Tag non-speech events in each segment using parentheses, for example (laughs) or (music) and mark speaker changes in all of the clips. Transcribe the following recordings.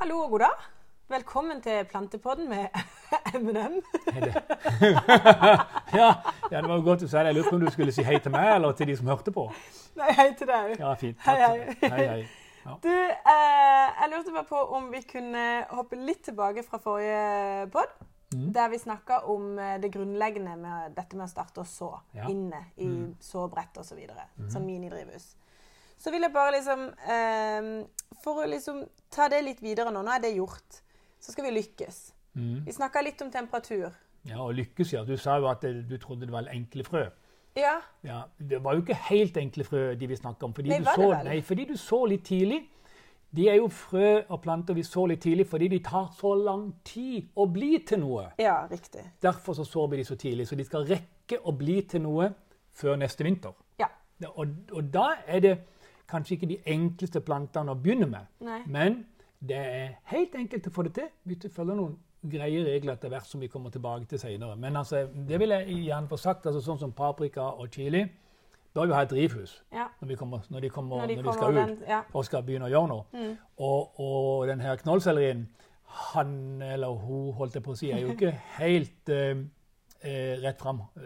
Speaker 1: Hallo og god dag. Velkommen til Plantepodden med (laughs) M&M.
Speaker 2: (laughs) Ja, ja, det var jo godt du sa det. Jeg lurte på om du skulle si hei til meg eller til de som hørte på.
Speaker 1: Nei, hei til deg.
Speaker 2: Ja, fint.
Speaker 1: Hei,
Speaker 2: Takk.
Speaker 1: hei.
Speaker 2: hei, hei. Ja.
Speaker 1: Du, eh, jeg lurte bare på om vi kunne hoppe litt tilbake fra forrige pod,
Speaker 2: Mm,
Speaker 1: der vi snakka om eh, det grunnleggende med dette med å starte å så
Speaker 2: Ja. Mm. Mhm.
Speaker 1: inne i såbrett osv. Så videre, Som minidrivhus. Så vil jeg bare liksom eh, For å liksom ta det litt videre nå. Nå er det gjort. Så skal vi lykkes.
Speaker 2: Mhm.
Speaker 1: Vi snakka litt om temperatur.
Speaker 2: ja, og lykkes, ja. Du sa jo at eh, du trodde det var enkle frø.
Speaker 1: Ja.
Speaker 2: Ja, det var jo ikke helt enkle frø, de vi snakket om. Fordi
Speaker 1: Nei,
Speaker 2: du
Speaker 1: var det
Speaker 2: så,
Speaker 1: vel?
Speaker 2: nei, fordi du så litt tidlig. De er jo frø og planter vi så litt tidlig fordi de tar så lang tid å bli til noe.
Speaker 1: Ja, riktig.
Speaker 2: Derfor så sår vi de så tidlig, så de skal rekke å bli til noe før neste vinter.
Speaker 1: Ja.
Speaker 2: Ja, Og, og da er det kanskje ikke de enkleste plantene å begynne med.
Speaker 1: Nei.
Speaker 2: Men det er helt enkelt å få det til hvis du følger noen greie regler etter hvert som vi kommer tilbake til senere. Men altså, det vil jeg gjerne få sagt, altså sånn som paprika og chili bør jo ha et drivhus
Speaker 1: ja.
Speaker 2: når, vi kommer, når, de,
Speaker 1: Når
Speaker 2: kommer, når,
Speaker 1: de
Speaker 2: de,
Speaker 1: kommer og
Speaker 2: skal ut
Speaker 1: vent- ja.
Speaker 2: og skal begynne å gjøre noe.
Speaker 1: Mm.
Speaker 2: Og, og den her knollsellerien, han eller hun, holdt jeg på å si, er jo
Speaker 1: (laughs)
Speaker 2: ikke helt eh, eh, rett fram. Eh,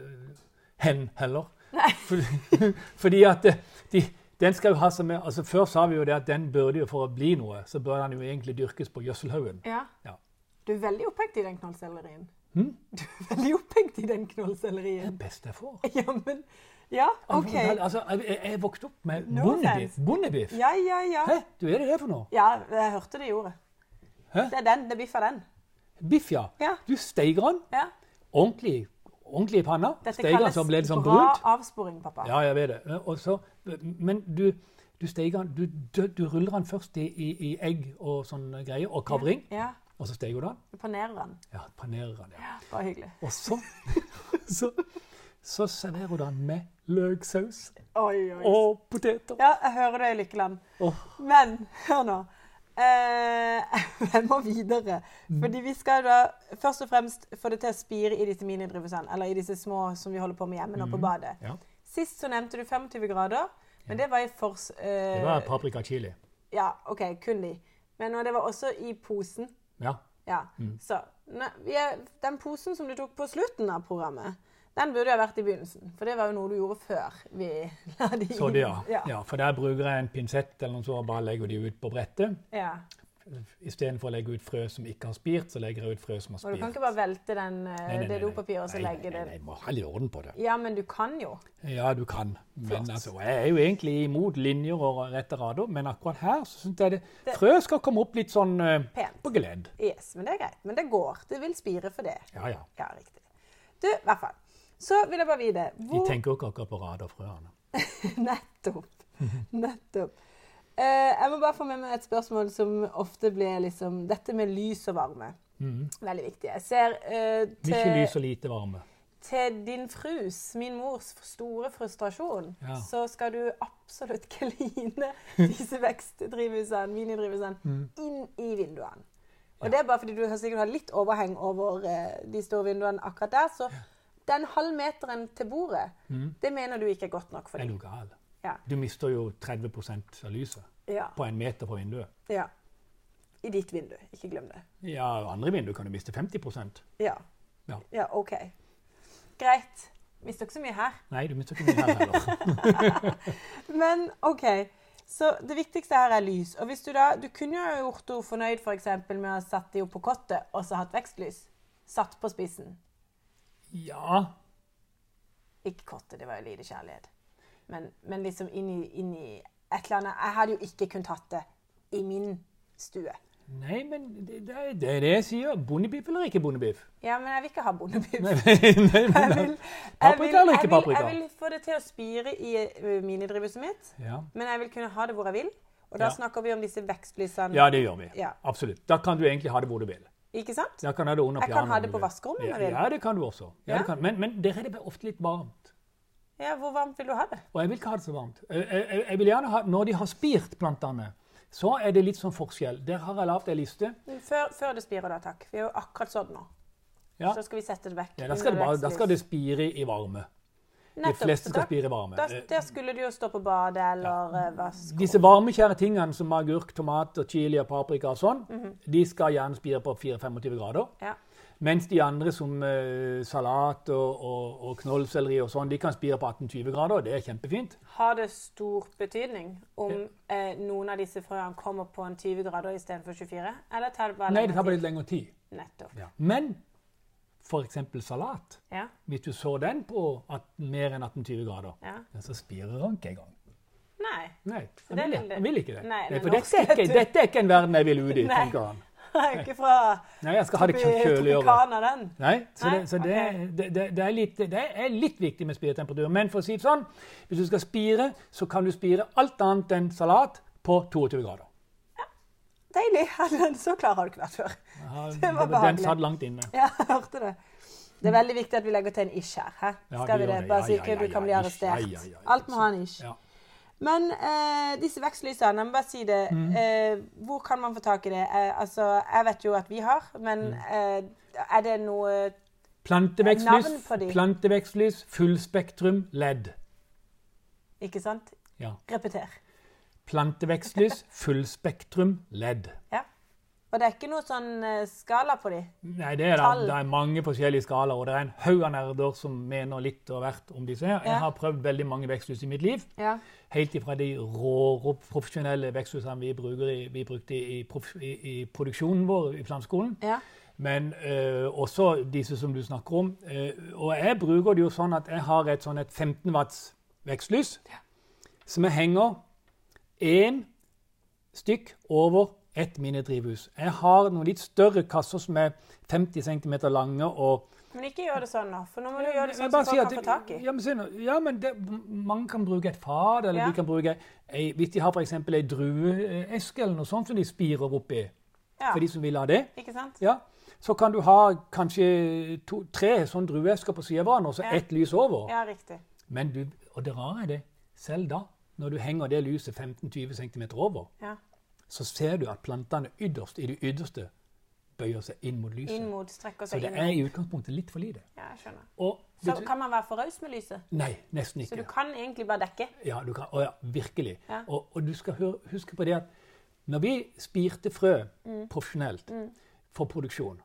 Speaker 2: hen heller. (laughs) Fordi, fordi at eh, de, den skal jo ha som en- altså Før sa vi jo det at den burde jo for å bli noe, så bør den jo egentlig dyrkes på gjødselhaugen.
Speaker 1: Ja.
Speaker 2: Ja. Hm?
Speaker 1: Du er veldig opphengt i den knollsellerien. Du er veldig opphengt i den knollsellerien.
Speaker 2: Det beste jeg får.
Speaker 1: Ja, men Ja, OK.
Speaker 2: Altså, jeg, jeg vokste opp med
Speaker 1: No
Speaker 2: bondebiff.
Speaker 1: offense.
Speaker 2: bondebiff.
Speaker 1: Ja, ja, ja.
Speaker 2: Hæ? Du, er det det for noe?
Speaker 1: Ja, jeg hørte det i ordet.
Speaker 2: Hæ?
Speaker 1: Det er den. Det er biff av den.
Speaker 2: Biff, ja.
Speaker 1: Ja.
Speaker 2: Du steiger den.
Speaker 1: Ja.
Speaker 2: ordentlig, ordentlig i panna.
Speaker 1: Dette
Speaker 2: Steiker den
Speaker 1: kalles
Speaker 2: så blir det sånn
Speaker 1: bra
Speaker 2: brunt.
Speaker 1: avsporing, pappa.
Speaker 2: Ja, jeg vet det. Og så, men du, du steiker den, du, du, du ruller den først i, i, i egg og sånn greie, og kavring.
Speaker 1: Ja.
Speaker 2: Og så steiker du den.
Speaker 1: Du panerer den.
Speaker 2: Ja, panerer den. Ja.
Speaker 1: Ja, Bare hyggelig.
Speaker 2: Og så, (laughs) så, så serverer du den med løksaus
Speaker 1: Oi, oi.
Speaker 2: og poteter.
Speaker 1: Ja, jeg hører det i Lykkeland.
Speaker 2: Åh.
Speaker 1: Men hør nå. Eh, (laughs) jeg må videre.
Speaker 2: Mm.
Speaker 1: Fordi vi skal da først og fremst få det til å spire i disse minidrivhusene. Eller i disse små som vi holder på med hjemme nå
Speaker 2: Mm.
Speaker 1: på badet.
Speaker 2: Ja.
Speaker 1: Sist så nevnte du 25 grader. Men det var i fors... eh,
Speaker 2: Det var paprika chili.
Speaker 1: Ja, OK, kun de. Men og det var også i posen.
Speaker 2: Ja.
Speaker 1: Ja.
Speaker 2: Mm.
Speaker 1: Så ne, vi er, den posen som du tok på slutten av programmet, den burde jo ha vært i begynnelsen. For det var jo noe du gjorde før vi la de
Speaker 2: Så det, ja.
Speaker 1: (laughs) Ja.
Speaker 2: ja. For der bruker jeg en pinsett eller noe sånt og bare legger de ut på brettet.
Speaker 1: ja.
Speaker 2: Istedenfor å legge ut frø som ikke har spirt, så legger jeg ut frø som
Speaker 1: Og
Speaker 2: har
Speaker 1: du
Speaker 2: spirt.
Speaker 1: kan ikke bare velte den, eh,
Speaker 2: Nei, nei,
Speaker 1: det
Speaker 2: nei, nei.
Speaker 1: dopapiret og så
Speaker 2: Nei, nei,
Speaker 1: legge
Speaker 2: nei,
Speaker 1: det
Speaker 2: nei, Må ha litt orden på det.
Speaker 1: Ja, men du kan jo.
Speaker 2: Ja, du kan. Men
Speaker 1: Flott.
Speaker 2: altså, jeg er jo egentlig imot linjer og rette rader, men akkurat her så syns jeg det, frø skal komme opp litt sånn eh,
Speaker 1: Pent.
Speaker 2: på gledd.
Speaker 1: Yes, men det er greit. Men det går. Det vil spire for det.
Speaker 2: Ja, ja.
Speaker 1: Ja, riktig. Du, i hvert fall. Så vil jeg bare vite
Speaker 2: De
Speaker 1: hvor
Speaker 2: tenker jo ikke akkurat på rader, frøene.
Speaker 1: (laughs)
Speaker 2: (laughs)
Speaker 1: Nettopp. Nettopp. Eh, jeg må bare få med meg et spørsmål som ofte blir liksom Dette med lys og varme. Veldig viktig. Jeg ser eh,
Speaker 2: Mye
Speaker 1: til,
Speaker 2: Mm. lys og lite varme.
Speaker 1: til din frus, min mors, store frustrasjon,
Speaker 2: Ja.
Speaker 1: så skal du absolutt (laughs) kline disse vekstdrivhusene, minidrivhusene,
Speaker 2: Mm.
Speaker 1: inn i vinduene. Og det er bare fordi du har sikkert har litt overheng over eh, de store vinduene akkurat der. Så den halvmeteren til bordet,
Speaker 2: Mm.
Speaker 1: det mener du ikke er godt nok for
Speaker 2: Er
Speaker 1: dem.
Speaker 2: du gal?
Speaker 1: Ja.
Speaker 2: Du mister jo 30 av lyset
Speaker 1: Ja.
Speaker 2: på en meter fra vinduet.
Speaker 1: Ja. I ditt vindu. Ikke glem det.
Speaker 2: Ja, og andre vinduer kan du miste 50
Speaker 1: Ja.
Speaker 2: Ja.
Speaker 1: Ja, OK. Greit. Mister ikke så mye her.
Speaker 2: Nei, du mister ikke mye
Speaker 1: (laughs)
Speaker 2: her heller.
Speaker 1: Men OK. Så det viktigste her er lys. Og hvis du da Du kunne jo gjort henne fornøyd for eksempel, med å ha satt de opp på kottet og så hatt vekstlys. Satt på spissen.
Speaker 2: Ja,
Speaker 1: Ikke kottet, det var jo lite kjærlighet. Men, men liksom inn i, inn i et eller annet Jeg hadde jo ikke kunnet hatt det i min stue.
Speaker 2: nei, men det, det er- det er det jeg sier. Bondebiff eller ikke bondebiff?
Speaker 1: (laughs)
Speaker 2: (laughs)
Speaker 1: Ja, men jeg vil ikke ha bondebu.
Speaker 2: Nei, nei,
Speaker 1: Jeg
Speaker 2: nei.
Speaker 1: vil, jeg, vil,
Speaker 2: Paprika eller
Speaker 1: jeg,
Speaker 2: ikke
Speaker 1: vil,
Speaker 2: paprika?
Speaker 1: jeg vil få det til å spire i eh, minidrivhuset mitt,
Speaker 2: Ja.
Speaker 1: men jeg vil kunne ha det hvor jeg vil. Og da
Speaker 2: Ja.
Speaker 1: snakker vi om disse vekstlysene.
Speaker 2: ja, det gjør vi.
Speaker 1: Ja.
Speaker 2: Absolutt. Da kan du egentlig ha det hvor du vil.
Speaker 1: Ikke sant?
Speaker 2: Jeg kan ha det under
Speaker 1: Jeg kan
Speaker 2: pianoet.
Speaker 1: ha
Speaker 2: om
Speaker 1: det
Speaker 2: du
Speaker 1: på
Speaker 2: vil.
Speaker 1: vaskerommet om jeg vil.
Speaker 2: Ja, det kan du også. Ja,
Speaker 1: Ja.
Speaker 2: Det kan. Men, men der er det bare ofte litt varmt.
Speaker 1: Ja, Hvor varmt vil du ha det?
Speaker 2: Og jeg vil ikke ha det så varmt. Jeg, jeg, jeg vil gjerne ha, Når de har spirt plantene, så er det litt sånn forskjell. Der har jeg lagd ei liste.
Speaker 1: Før, før det spirer, da, takk. Vi er jo akkurat sånn nå.
Speaker 2: Ja.
Speaker 1: Så skal vi sette det vekk.
Speaker 2: Ja, da, skal det
Speaker 1: under
Speaker 2: bare, da skal
Speaker 1: vekslys.
Speaker 2: det spire i varme. De
Speaker 1: Nettopp,
Speaker 2: fleste
Speaker 1: så
Speaker 2: skal
Speaker 1: da-
Speaker 2: spire varme. Eh,
Speaker 1: Da, der skulle du jo stå på badet eller eh, vaske
Speaker 2: Disse varmekjære tingene som agurk, tomat, og chili og paprika og sånn,
Speaker 1: Mhm.
Speaker 2: de skal gjerne spire på 4-25 grader.
Speaker 1: ja.
Speaker 2: Mens de andre som eh, salat og, og, og knollselleri og sånn, de kan spire på 18-20 grader. og Det er kjempefint.
Speaker 1: Har det stor betydning om eh, noen av disse frøene kommer på en 20 grader istedenfor 24? Eller tar det bare
Speaker 2: Nei, det
Speaker 1: lengre
Speaker 2: tar bare
Speaker 1: tid?
Speaker 2: litt lengre tid.
Speaker 1: Nettopp.
Speaker 2: Men f.eks. salat.
Speaker 1: Ja.
Speaker 2: Hvis du så den på at, mer enn 18-20 grader,
Speaker 1: Ja.
Speaker 2: ja, så spirer den ikke engang.
Speaker 1: Nei. (laughs)
Speaker 2: Nei, han
Speaker 1: det er
Speaker 2: vil,
Speaker 1: litt-
Speaker 2: han vil ikke det.
Speaker 1: Nei,
Speaker 2: Nei,
Speaker 1: men
Speaker 2: for
Speaker 1: norsk
Speaker 2: dette er, ikke,
Speaker 1: vet du.
Speaker 2: dette er ikke en verden jeg vil ut i,
Speaker 1: Nei.
Speaker 2: tenker han.
Speaker 1: Jeg er jo ikke fra
Speaker 2: Nei, jeg skal ha det
Speaker 1: tropi-
Speaker 2: kjøligere.
Speaker 1: Tropicana, den.
Speaker 2: Nei, så,
Speaker 1: Nei,
Speaker 2: det, så det, det, det, det, er litt, det er litt viktig med spiretemperatur. Men for å si det sånn, hvis du skal spire, så kan du spire alt annet enn salat på 22 grader.
Speaker 1: Deilig! (laughs) Den så klar har du ikke vært før.
Speaker 2: Ja,
Speaker 1: Det var
Speaker 2: Den
Speaker 1: behagelig.
Speaker 2: satt langt inne.
Speaker 1: (laughs) Ja, jeg hørte det. Det er veldig viktig at vi legger til en ish her. hæ? Skal
Speaker 2: Ja, vi
Speaker 1: vi
Speaker 2: gjør
Speaker 1: det?
Speaker 2: det.
Speaker 1: Bare
Speaker 2: Ja,
Speaker 1: så
Speaker 2: ja,
Speaker 1: ikke
Speaker 2: ja,
Speaker 1: du
Speaker 2: ja,
Speaker 1: kan bli
Speaker 2: ish.
Speaker 1: arrestert.
Speaker 2: Ja, ja, ja.
Speaker 1: Alt må ha en ish.
Speaker 2: Ja.
Speaker 1: Men eh, disse vekstlysene, jeg må bare si det.
Speaker 2: Mm.
Speaker 1: Eh, hvor kan man få tak i det? Eh, altså, jeg vet jo at vi har, men
Speaker 2: Mm.
Speaker 1: eh, er det noe Navn
Speaker 2: Plantevekstlys,
Speaker 1: på de.
Speaker 2: plantevekstlys, fullspektrum, ledd.
Speaker 1: Ikke sant?
Speaker 2: Ja.
Speaker 1: Repeter.
Speaker 2: Plantevekstlys, fullspektrum, ledd.
Speaker 1: Ja. Og det er ikke noe sånn eh, skala på de?
Speaker 2: Nei, det er,
Speaker 1: Tall.
Speaker 2: det er mange forskjellige skalaer, og det er en haug av nerder som mener litt og hvert om disse. her.
Speaker 1: Ja.
Speaker 2: Jeg har prøvd veldig mange veksthus i mitt liv.
Speaker 1: Ja.
Speaker 2: Helt ifra de rå, rå profesjonelle veksthusene vi, bruker i, vi brukte i, prof, i, i produksjonen vår i planteskolen.
Speaker 1: Ja.
Speaker 2: Men eh, også disse som du snakker om. Eh, og jeg bruker det jo sånn at jeg har et, sånn et 15 watts vekstlys som jeg henger én stykk over ett minidrivhus. Jeg har noen litt større kasser som er 50 cm lange og
Speaker 1: Men ikke gjør det sånn nå, for nå må du gjøre det
Speaker 2: Jeg
Speaker 1: sånn
Speaker 2: bare
Speaker 1: som folk
Speaker 2: sier at-
Speaker 1: kan få tak i.
Speaker 2: Ja, men, se nå. ja, men det, mange kan bruke et fat, eller
Speaker 1: Ja.
Speaker 2: de kan bruke ei, Hvis de har f.eks. ei drueeske eller noe sånt som de spirer oppi,
Speaker 1: Ja.
Speaker 2: for de som vil ha det.
Speaker 1: Ikke sant?
Speaker 2: Ja. Så kan du ha kanskje to, tre sånne drueesker på siden av hverandre, og så
Speaker 1: Ja.
Speaker 2: ett lys over.
Speaker 1: Ja, riktig.
Speaker 2: Men du, og det rare er det, selv da, når du henger det lyset 15-20 cm over,
Speaker 1: Ja.
Speaker 2: så ser du at plantene ytterst i det ytterste bøyer seg inn mot lyset.
Speaker 1: Inn mot, strekker
Speaker 2: så
Speaker 1: seg
Speaker 2: det
Speaker 1: inn.
Speaker 2: er
Speaker 1: mot.
Speaker 2: i utgangspunktet litt for lite.
Speaker 1: Ja, jeg skjønner.
Speaker 2: Og,
Speaker 1: Så
Speaker 2: vet du-
Speaker 1: kan man være for raus med lyset.
Speaker 2: nei, nesten
Speaker 1: Så
Speaker 2: ikke.
Speaker 1: du kan egentlig bare dekke.
Speaker 2: Ja, du kan, å ja virkelig.
Speaker 1: Ja.
Speaker 2: Og, og du skal høre, huske på det at når vi spirte frø
Speaker 1: Mm.
Speaker 2: profesjonelt for produksjon,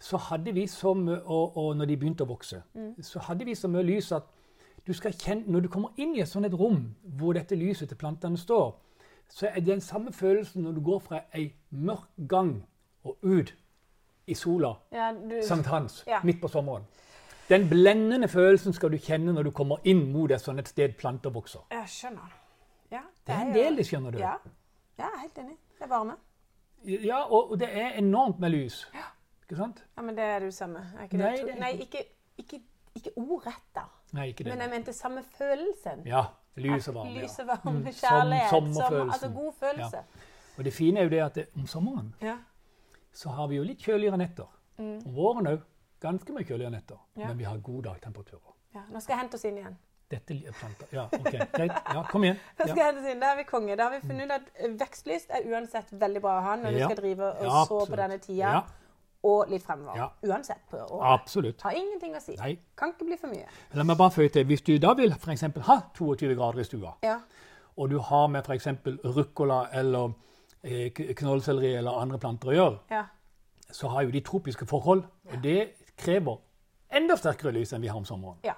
Speaker 2: så hadde vi så mye, og, og når de begynte å vokse,
Speaker 1: Mm.
Speaker 2: så hadde vi så mye lys at du skal kjenne, når du kommer inn i et sånt et rom hvor dette lyset til plantene står, så er det den samme følelsen når du går fra ei mørk gang og ut i sola,
Speaker 1: Ja, du...
Speaker 2: Sankt Hans,
Speaker 1: Ja.
Speaker 2: midt på sommeren. Den blendende følelsen skal du kjenne når du kommer inn mot et sånt et sted planter vokser.
Speaker 1: Jeg skjønner. Ja,
Speaker 2: Det er en
Speaker 1: jo-
Speaker 2: del, det skjønner du.
Speaker 1: Ja. ja, jeg er helt enig. Det er varme.
Speaker 2: Ja, og og det er enormt med lys. Ikke sant?
Speaker 1: Ja, men det er det jo samme. Er ikke det?
Speaker 2: Nei,
Speaker 1: to-
Speaker 2: det er-
Speaker 1: Nei ikke, ikke, ikke ordrett, da.
Speaker 2: Nei, ikke det.
Speaker 1: Men jeg mente samme følelsen.
Speaker 2: Ja, lys og varme.
Speaker 1: Lys
Speaker 2: Ja. Mm.
Speaker 1: og varme,
Speaker 2: som-
Speaker 1: kjærlighet.
Speaker 2: sommerfølelsen.
Speaker 1: altså god følelse.
Speaker 2: Og det fine er jo det at det, om sommeren
Speaker 1: Ja.
Speaker 2: så har vi jo litt kjøligere netter. Om våren òg ganske mye kjøligere netter.
Speaker 1: Mm. Ja.
Speaker 2: Men vi har gode dagtemperaturer.
Speaker 1: Ja. Nå skal jeg hente oss inn igjen.
Speaker 2: Dette er planter. Ja, ok, greit. Ja, kom igjen.
Speaker 1: Nå skal
Speaker 2: Ja.
Speaker 1: jeg hente oss inn. Da er vi konge. Da har vi funnet ut at eh, vekstlys er uansett veldig bra å ha når du
Speaker 2: Ja.
Speaker 1: skal drive og
Speaker 2: Ja,
Speaker 1: så
Speaker 2: absolutt.
Speaker 1: på denne tida,
Speaker 2: Ja.
Speaker 1: og litt fremover.
Speaker 2: Ja.
Speaker 1: Uansett på året.
Speaker 2: Absolutt.
Speaker 1: Har ingenting å si.
Speaker 2: Nei.
Speaker 1: Kan ikke bli for mye.
Speaker 2: La meg bare føye til. Hvis du da vil f.eks. ha 22 grader i stua,
Speaker 1: Ja.
Speaker 2: og du har med f.eks. ruccola eller eh, k- knollselleri eller andre planter å gjøre,
Speaker 1: ja.
Speaker 2: så har jo de tropiske forhold, og det krever enda sterkere lys enn vi har om sommeren.
Speaker 1: Ja.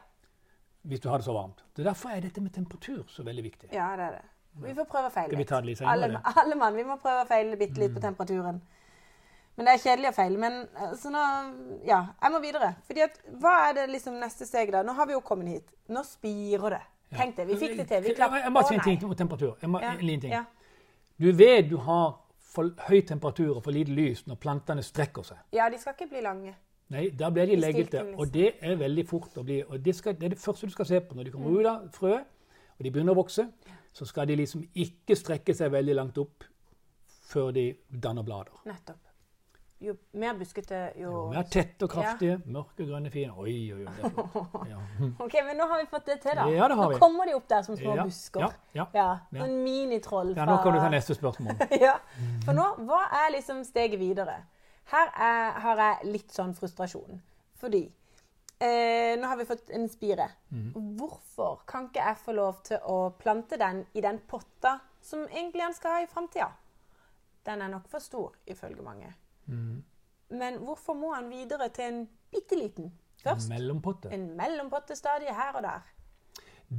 Speaker 2: hvis du har det så varmt. Det er Derfor er dette med temperatur så veldig viktig.
Speaker 1: Ja, det er det. Vi får prøve og feile
Speaker 2: Skal vi ta det litt senere,
Speaker 1: alle, (laughs) alle mann, vi må prøve og feile bitte
Speaker 2: Mm.
Speaker 1: litt på temperaturen. Men det er kjedelig å feile. Men eh, så nå Ja, jeg må videre. Fordi at, hva er det liksom neste steg, da? Nå har vi jo kommet hit. Nå spirer det. Tenk det. Vi fikk det til. Vi klapp-
Speaker 2: Jeg må si
Speaker 1: Å,
Speaker 2: en ting
Speaker 1: nei.
Speaker 2: om temperatur. Jeg må,
Speaker 1: Ja,
Speaker 2: en liten ting.
Speaker 1: ja.
Speaker 2: Du vet du har for høy temperatur og for lite lys når plantene strekker seg.
Speaker 1: Ja, de skal ikke bli lange.
Speaker 2: Nei, Da blir de leggete,
Speaker 1: Stilken, liksom.
Speaker 2: og det er veldig fort å bli. og det, skal, det er det første du skal se på når de kommer
Speaker 1: Mm.
Speaker 2: ut av frøet og de begynner å vokse. Så skal de liksom ikke strekke seg veldig langt opp før de danner blader.
Speaker 1: Nettopp. Jo mer buskete, jo
Speaker 2: Vi har tette og kraftige, mørke og grønne fine. Oi, oi, oi. det er flott.
Speaker 1: OK, men nå har vi fått det til, da.
Speaker 2: Ja, det har vi.
Speaker 1: Nå kommer de opp der som små
Speaker 2: Ja,
Speaker 1: busker.
Speaker 2: ja, ja. Ja.
Speaker 1: Noen minitroll
Speaker 2: Ja, nå kan du ta neste spørsmål.
Speaker 1: (laughs) ja. For nå, hva er liksom steget videre? Her er, har jeg litt sånn frustrasjon. Fordi Eh, nå har vi fått en spire.
Speaker 2: Mhm.
Speaker 1: Hvorfor kan ikke jeg få lov til å plante den i den potta som egentlig han skal ha i framtida? Den er nok for stor, ifølge mange.
Speaker 2: Mhm.
Speaker 1: Men hvorfor må han videre til en bitte liten først?
Speaker 2: Mellompotte.
Speaker 1: En mellompotte stadig her og der.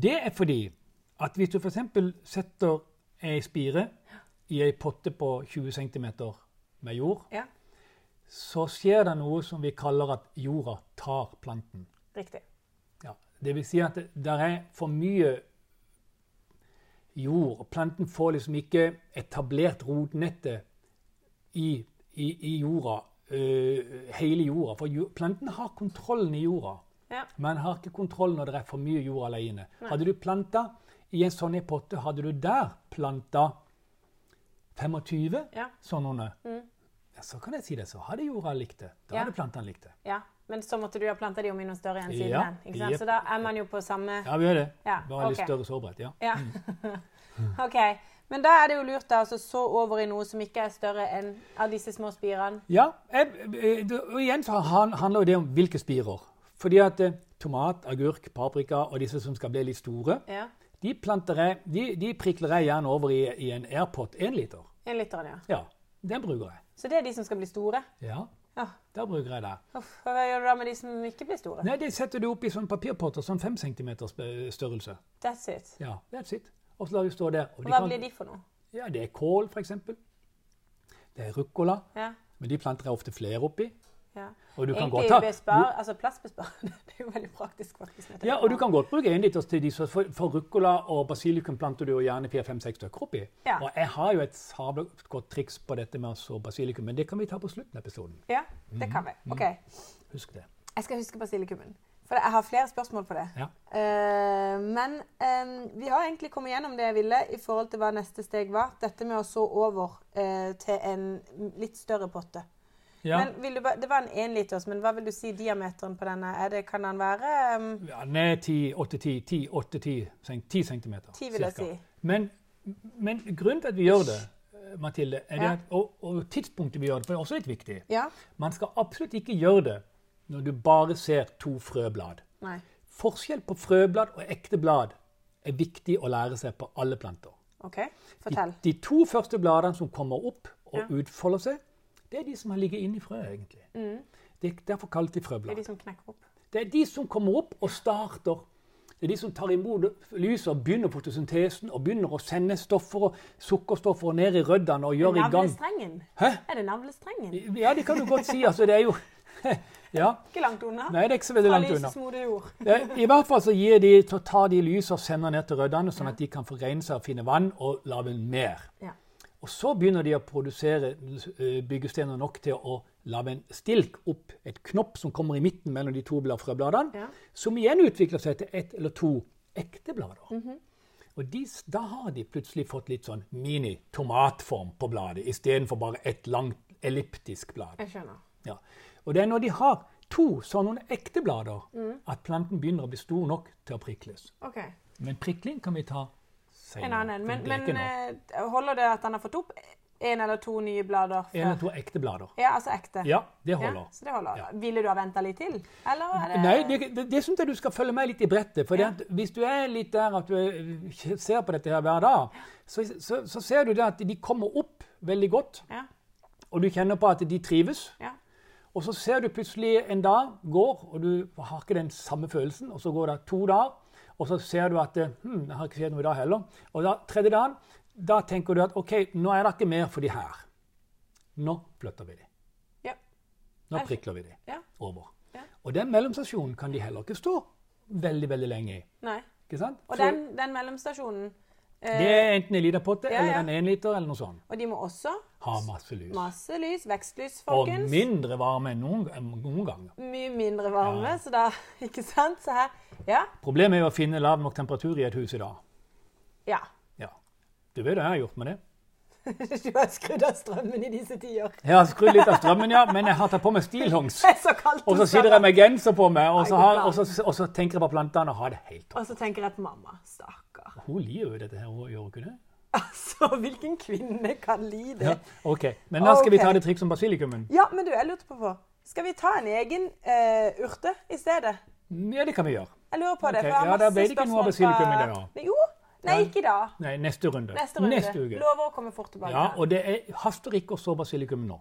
Speaker 2: Det er fordi at hvis du f.eks. setter ei spire i ei potte på 20 cm med jord,
Speaker 1: Ja,
Speaker 2: så skjer det noe som vi kaller at jorda tar planten.
Speaker 1: riktig.
Speaker 2: Ja. Det vil si at det der er for mye jord. og Planten får liksom ikke etablert rotnettet i, i, i jorda, øh, hele jorda. For jo- planten har kontrollen i jorda.
Speaker 1: Ja.
Speaker 2: Man har ikke kontroll når det er for mye jord alene. Hadde du planta i en sånn en potte, hadde du der planta 25
Speaker 1: Ja. Mm.
Speaker 2: sånn under, ja, så kan jeg si det, så hadde jorda likt det. Da
Speaker 1: Ja.
Speaker 2: hadde planta likt det.
Speaker 1: ja. Men så måtte du ha planta de om i noe større enn siden
Speaker 2: Ja,
Speaker 1: den. Ikke sant?
Speaker 2: jep.
Speaker 1: Så da er man jo på samme
Speaker 2: Ja, vi gjør det.
Speaker 1: Ja,
Speaker 2: Bare litt
Speaker 1: ok.
Speaker 2: større sårbarhet. ja.
Speaker 1: Ja. (laughs) OK. Men da er det jo lurt da, altså så over i noe som ikke er større enn av disse små spirene.
Speaker 2: Ja, jeg, eh, det- og igjen så han- handler jo det om hvilke spirer. Fordi at eh, tomat, agurk, paprika og disse som skal bli litt store,
Speaker 1: Ja.
Speaker 2: de, planter jeg, de, de prikler jeg gjerne over i, i en AirPod 1 liter.
Speaker 1: En liter, ja.
Speaker 2: Ja, den bruker jeg.
Speaker 1: Så det er de som skal bli store?
Speaker 2: Ja,
Speaker 1: Ja.
Speaker 2: der bruker jeg det.
Speaker 1: Uff, og hva gjør du da med de som ikke blir store?
Speaker 2: Nei, det setter du opp i sånn papirpotter, sånn 5 cm størrelse.
Speaker 1: That's it.
Speaker 2: Ja, that's it. Og så lar du stå der. Og de
Speaker 1: Hva
Speaker 2: kan-
Speaker 1: blir de for noe?
Speaker 2: Ja, det er kål, for eksempel. Det er ruccola.
Speaker 1: Ja.
Speaker 2: Men de planter jeg ofte flere oppi.
Speaker 1: ja.
Speaker 2: Og du kan
Speaker 1: Egentlig
Speaker 2: godt ta-
Speaker 1: bespar, altså plassbesparende. (laughs) Det er jo veldig praktisk, faktisk. når jeg
Speaker 2: Ja,
Speaker 1: tenker
Speaker 2: og du
Speaker 1: på
Speaker 2: kan godt bruke en liter til de, så for, for ruccola og basilikum planter du jo gjerne fire-fem-seks stykker oppi.
Speaker 1: Ja.
Speaker 2: Og jeg har jo et sabla godt triks på dette med å så basilikum, men det kan vi ta på slutten av episoden.
Speaker 1: det. Ja, det kan vi.
Speaker 2: Mm.
Speaker 1: OK.
Speaker 2: Husk det.
Speaker 1: Jeg skal huske basilikummen. For jeg har flere spørsmål på det.
Speaker 2: Ja.
Speaker 1: Eh, men eh, vi har egentlig kommet gjennom det jeg ville i forhold til hva neste steg var. Dette med å så over eh, til en litt større potte.
Speaker 2: Ja.
Speaker 1: Men vil du, ba- det var en énliters, men hva vil du si diameteren på denne? Er det, kan den være eh,
Speaker 2: ja ned 10, 8, 10, 10, 8, 10, cent- 10 centimeter.
Speaker 1: 10 vil jeg
Speaker 2: cirka.
Speaker 1: si.
Speaker 2: Men, men grunnen til at vi gjør det, eh, Mathilde, er det
Speaker 1: Ja.
Speaker 2: at, og, og tidspunktet vi gjør det på, er også litt viktig.
Speaker 1: Ja?
Speaker 2: Man skal absolutt ikke gjøre det når du bare ser to frøblad.
Speaker 1: Nei.
Speaker 2: Forskjell på frøblad og ekte blad er viktig å lære seg på alle planter.
Speaker 1: OK,
Speaker 2: De,
Speaker 1: fortell.
Speaker 2: de to første bladene som kommer opp og
Speaker 1: Ja.
Speaker 2: utfolder seg, det er de som har ligget inni frøet, egentlig. Det er derfor kalt de
Speaker 1: Det Mm. er
Speaker 2: frøblad.
Speaker 1: de som knekker opp.
Speaker 2: Det er de som kommer opp og starter. Det er de som tar imot lyset og begynner fotosyntesen og begynner å sende stoffer og sukkerstoffer ned i røddene og gjør i gang.
Speaker 1: Navlestrengen?
Speaker 2: Hæ?
Speaker 1: Er det navlestrengen?
Speaker 2: Ja, det kan du godt si. Altså, det er jo (laughs) Ja.
Speaker 1: Ikke langt unna.
Speaker 2: Nei, det er ikke så veldig langt unna.
Speaker 1: Moder jord.
Speaker 2: Eh, I hvert fall så gir de, så tar de lyset og sender ned til røddene, sånn at de kan forgrene seg og finne vann og lage mer.
Speaker 1: Ja.
Speaker 2: Og så begynner de å produsere eh, byggestener nok til å lage en stilk opp, et knopp som kommer i midten mellom de to bla- frøbladene,
Speaker 1: Ja.
Speaker 2: som igjen utvikler seg til ett eller to ekte blader. Og de, s- da har de plutselig fått litt sånn mini-tomatform på bladet, istedenfor bare et langt elliptisk blad.
Speaker 1: Jeg skjønner.
Speaker 2: Ja. Og det er når de har to sånne ekte blader,
Speaker 1: Mm.
Speaker 2: at planten begynner å bli stor nok til å prikles.
Speaker 1: OK.
Speaker 2: Men prikling kan vi ta senere.
Speaker 1: En annen en. Men,
Speaker 2: Det er ikke
Speaker 1: men
Speaker 2: nå.
Speaker 1: eh, holder det at han har fått opp én eller to nye blader?
Speaker 2: En eller to ekte blader.
Speaker 1: Ja, altså ekte?
Speaker 2: Ja, det
Speaker 1: Ja,
Speaker 2: holder.
Speaker 1: så det holder.
Speaker 2: Ja.
Speaker 1: Ville du ha venta litt til? Eller er det
Speaker 2: Nei, det, det, det syns jeg du skal følge med litt i brettet. For at hvis du er litt der at du eh, ser på dette her hver dag, så, så, så ser du det at de kommer opp veldig godt,
Speaker 1: Ja.
Speaker 2: og du kjenner på at de trives.
Speaker 1: ja.
Speaker 2: Og så ser du plutselig en dag går, og du har ikke den samme følelsen. Og så går det to dager, og så ser du at eh, hm, det har ikke skjedd noe i dag heller. Og da, tredje dagen, da tenker du at OK, nå er det ikke mer for de her. Nå flytter vi de.
Speaker 1: Ja.
Speaker 2: Nå prikler vi de
Speaker 1: ja.
Speaker 2: over.
Speaker 1: Ja.
Speaker 2: Og den mellomstasjonen kan de heller ikke stå veldig, veldig lenge i.
Speaker 1: Nei.
Speaker 2: Ikke sant?
Speaker 1: Og
Speaker 2: Så
Speaker 1: den, den mellomstasjonen eh,
Speaker 2: det er enten en liten potte
Speaker 1: Ja, ja.
Speaker 2: eller en enliter eller noe sånt.
Speaker 1: Og de må også
Speaker 2: Har masse lys.
Speaker 1: masse lys. Vekstlys,
Speaker 2: Og
Speaker 1: folkens.
Speaker 2: mindre varme enn noen, enn noen ganger.
Speaker 1: Mye mindre varme, så da (laughs) Ikke sant? Så her Ja.
Speaker 2: Problemet er jo å finne lav nok temperatur i et hus i dag.
Speaker 1: Ja. (laughs)
Speaker 2: Ja. Du vet hva jeg har gjort med det?
Speaker 1: Du har skrudd av strømmen i disse (laughs) tider.
Speaker 2: Jeg har skrudd litt av strømmen, ja, men jeg har tatt på meg stillongs.
Speaker 1: Det er så kaldt.
Speaker 2: Og så
Speaker 1: hos
Speaker 2: sitter
Speaker 1: dere.
Speaker 2: jeg med genser på meg, og
Speaker 1: Nei,
Speaker 2: så,
Speaker 1: god
Speaker 2: har,
Speaker 1: plan.
Speaker 2: og så, og så tenker jeg på plantene og har det helt topp.
Speaker 1: Og så tenker jeg på mamma. Stakkar. (laughs)
Speaker 2: Hun liker jo dette her, hun gjør hun ikke det?
Speaker 1: Altså, hvilken kvinne kan lide?
Speaker 2: Ja, ok. Men da skal vi ta
Speaker 1: Ok.
Speaker 2: det trikset om basilikummen.
Speaker 1: Ja, men du, jeg lurte på på Skal vi ta en egen eh, urte i stedet?
Speaker 2: Ja, det kan vi gjøre.
Speaker 1: Jeg lurer på det.
Speaker 2: Ok,
Speaker 1: for jeg har
Speaker 2: ja, da
Speaker 1: masse
Speaker 2: ble det ikke noe
Speaker 1: spørsmål
Speaker 2: basilikum i
Speaker 1: fra-
Speaker 2: dag, da.
Speaker 1: Nei, Jo. Nei,
Speaker 2: Ja.
Speaker 1: ikke i dag.
Speaker 2: Nei, neste runde.
Speaker 1: Neste runde.
Speaker 2: uke.
Speaker 1: Lover å komme fort tilbake.
Speaker 2: Ja, og det er, haster ikke å så basilikum nå.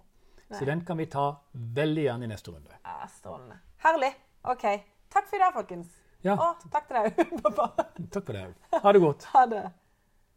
Speaker 2: Så den kan vi ta veldig gjerne i neste runde.
Speaker 1: ja, strålende. Herlig. OK. Takk for i dag, folkens.
Speaker 2: Ja.
Speaker 1: Og takk til deg, (laughs) pappa.
Speaker 2: Takk for det. Ha det godt.
Speaker 1: Ha det.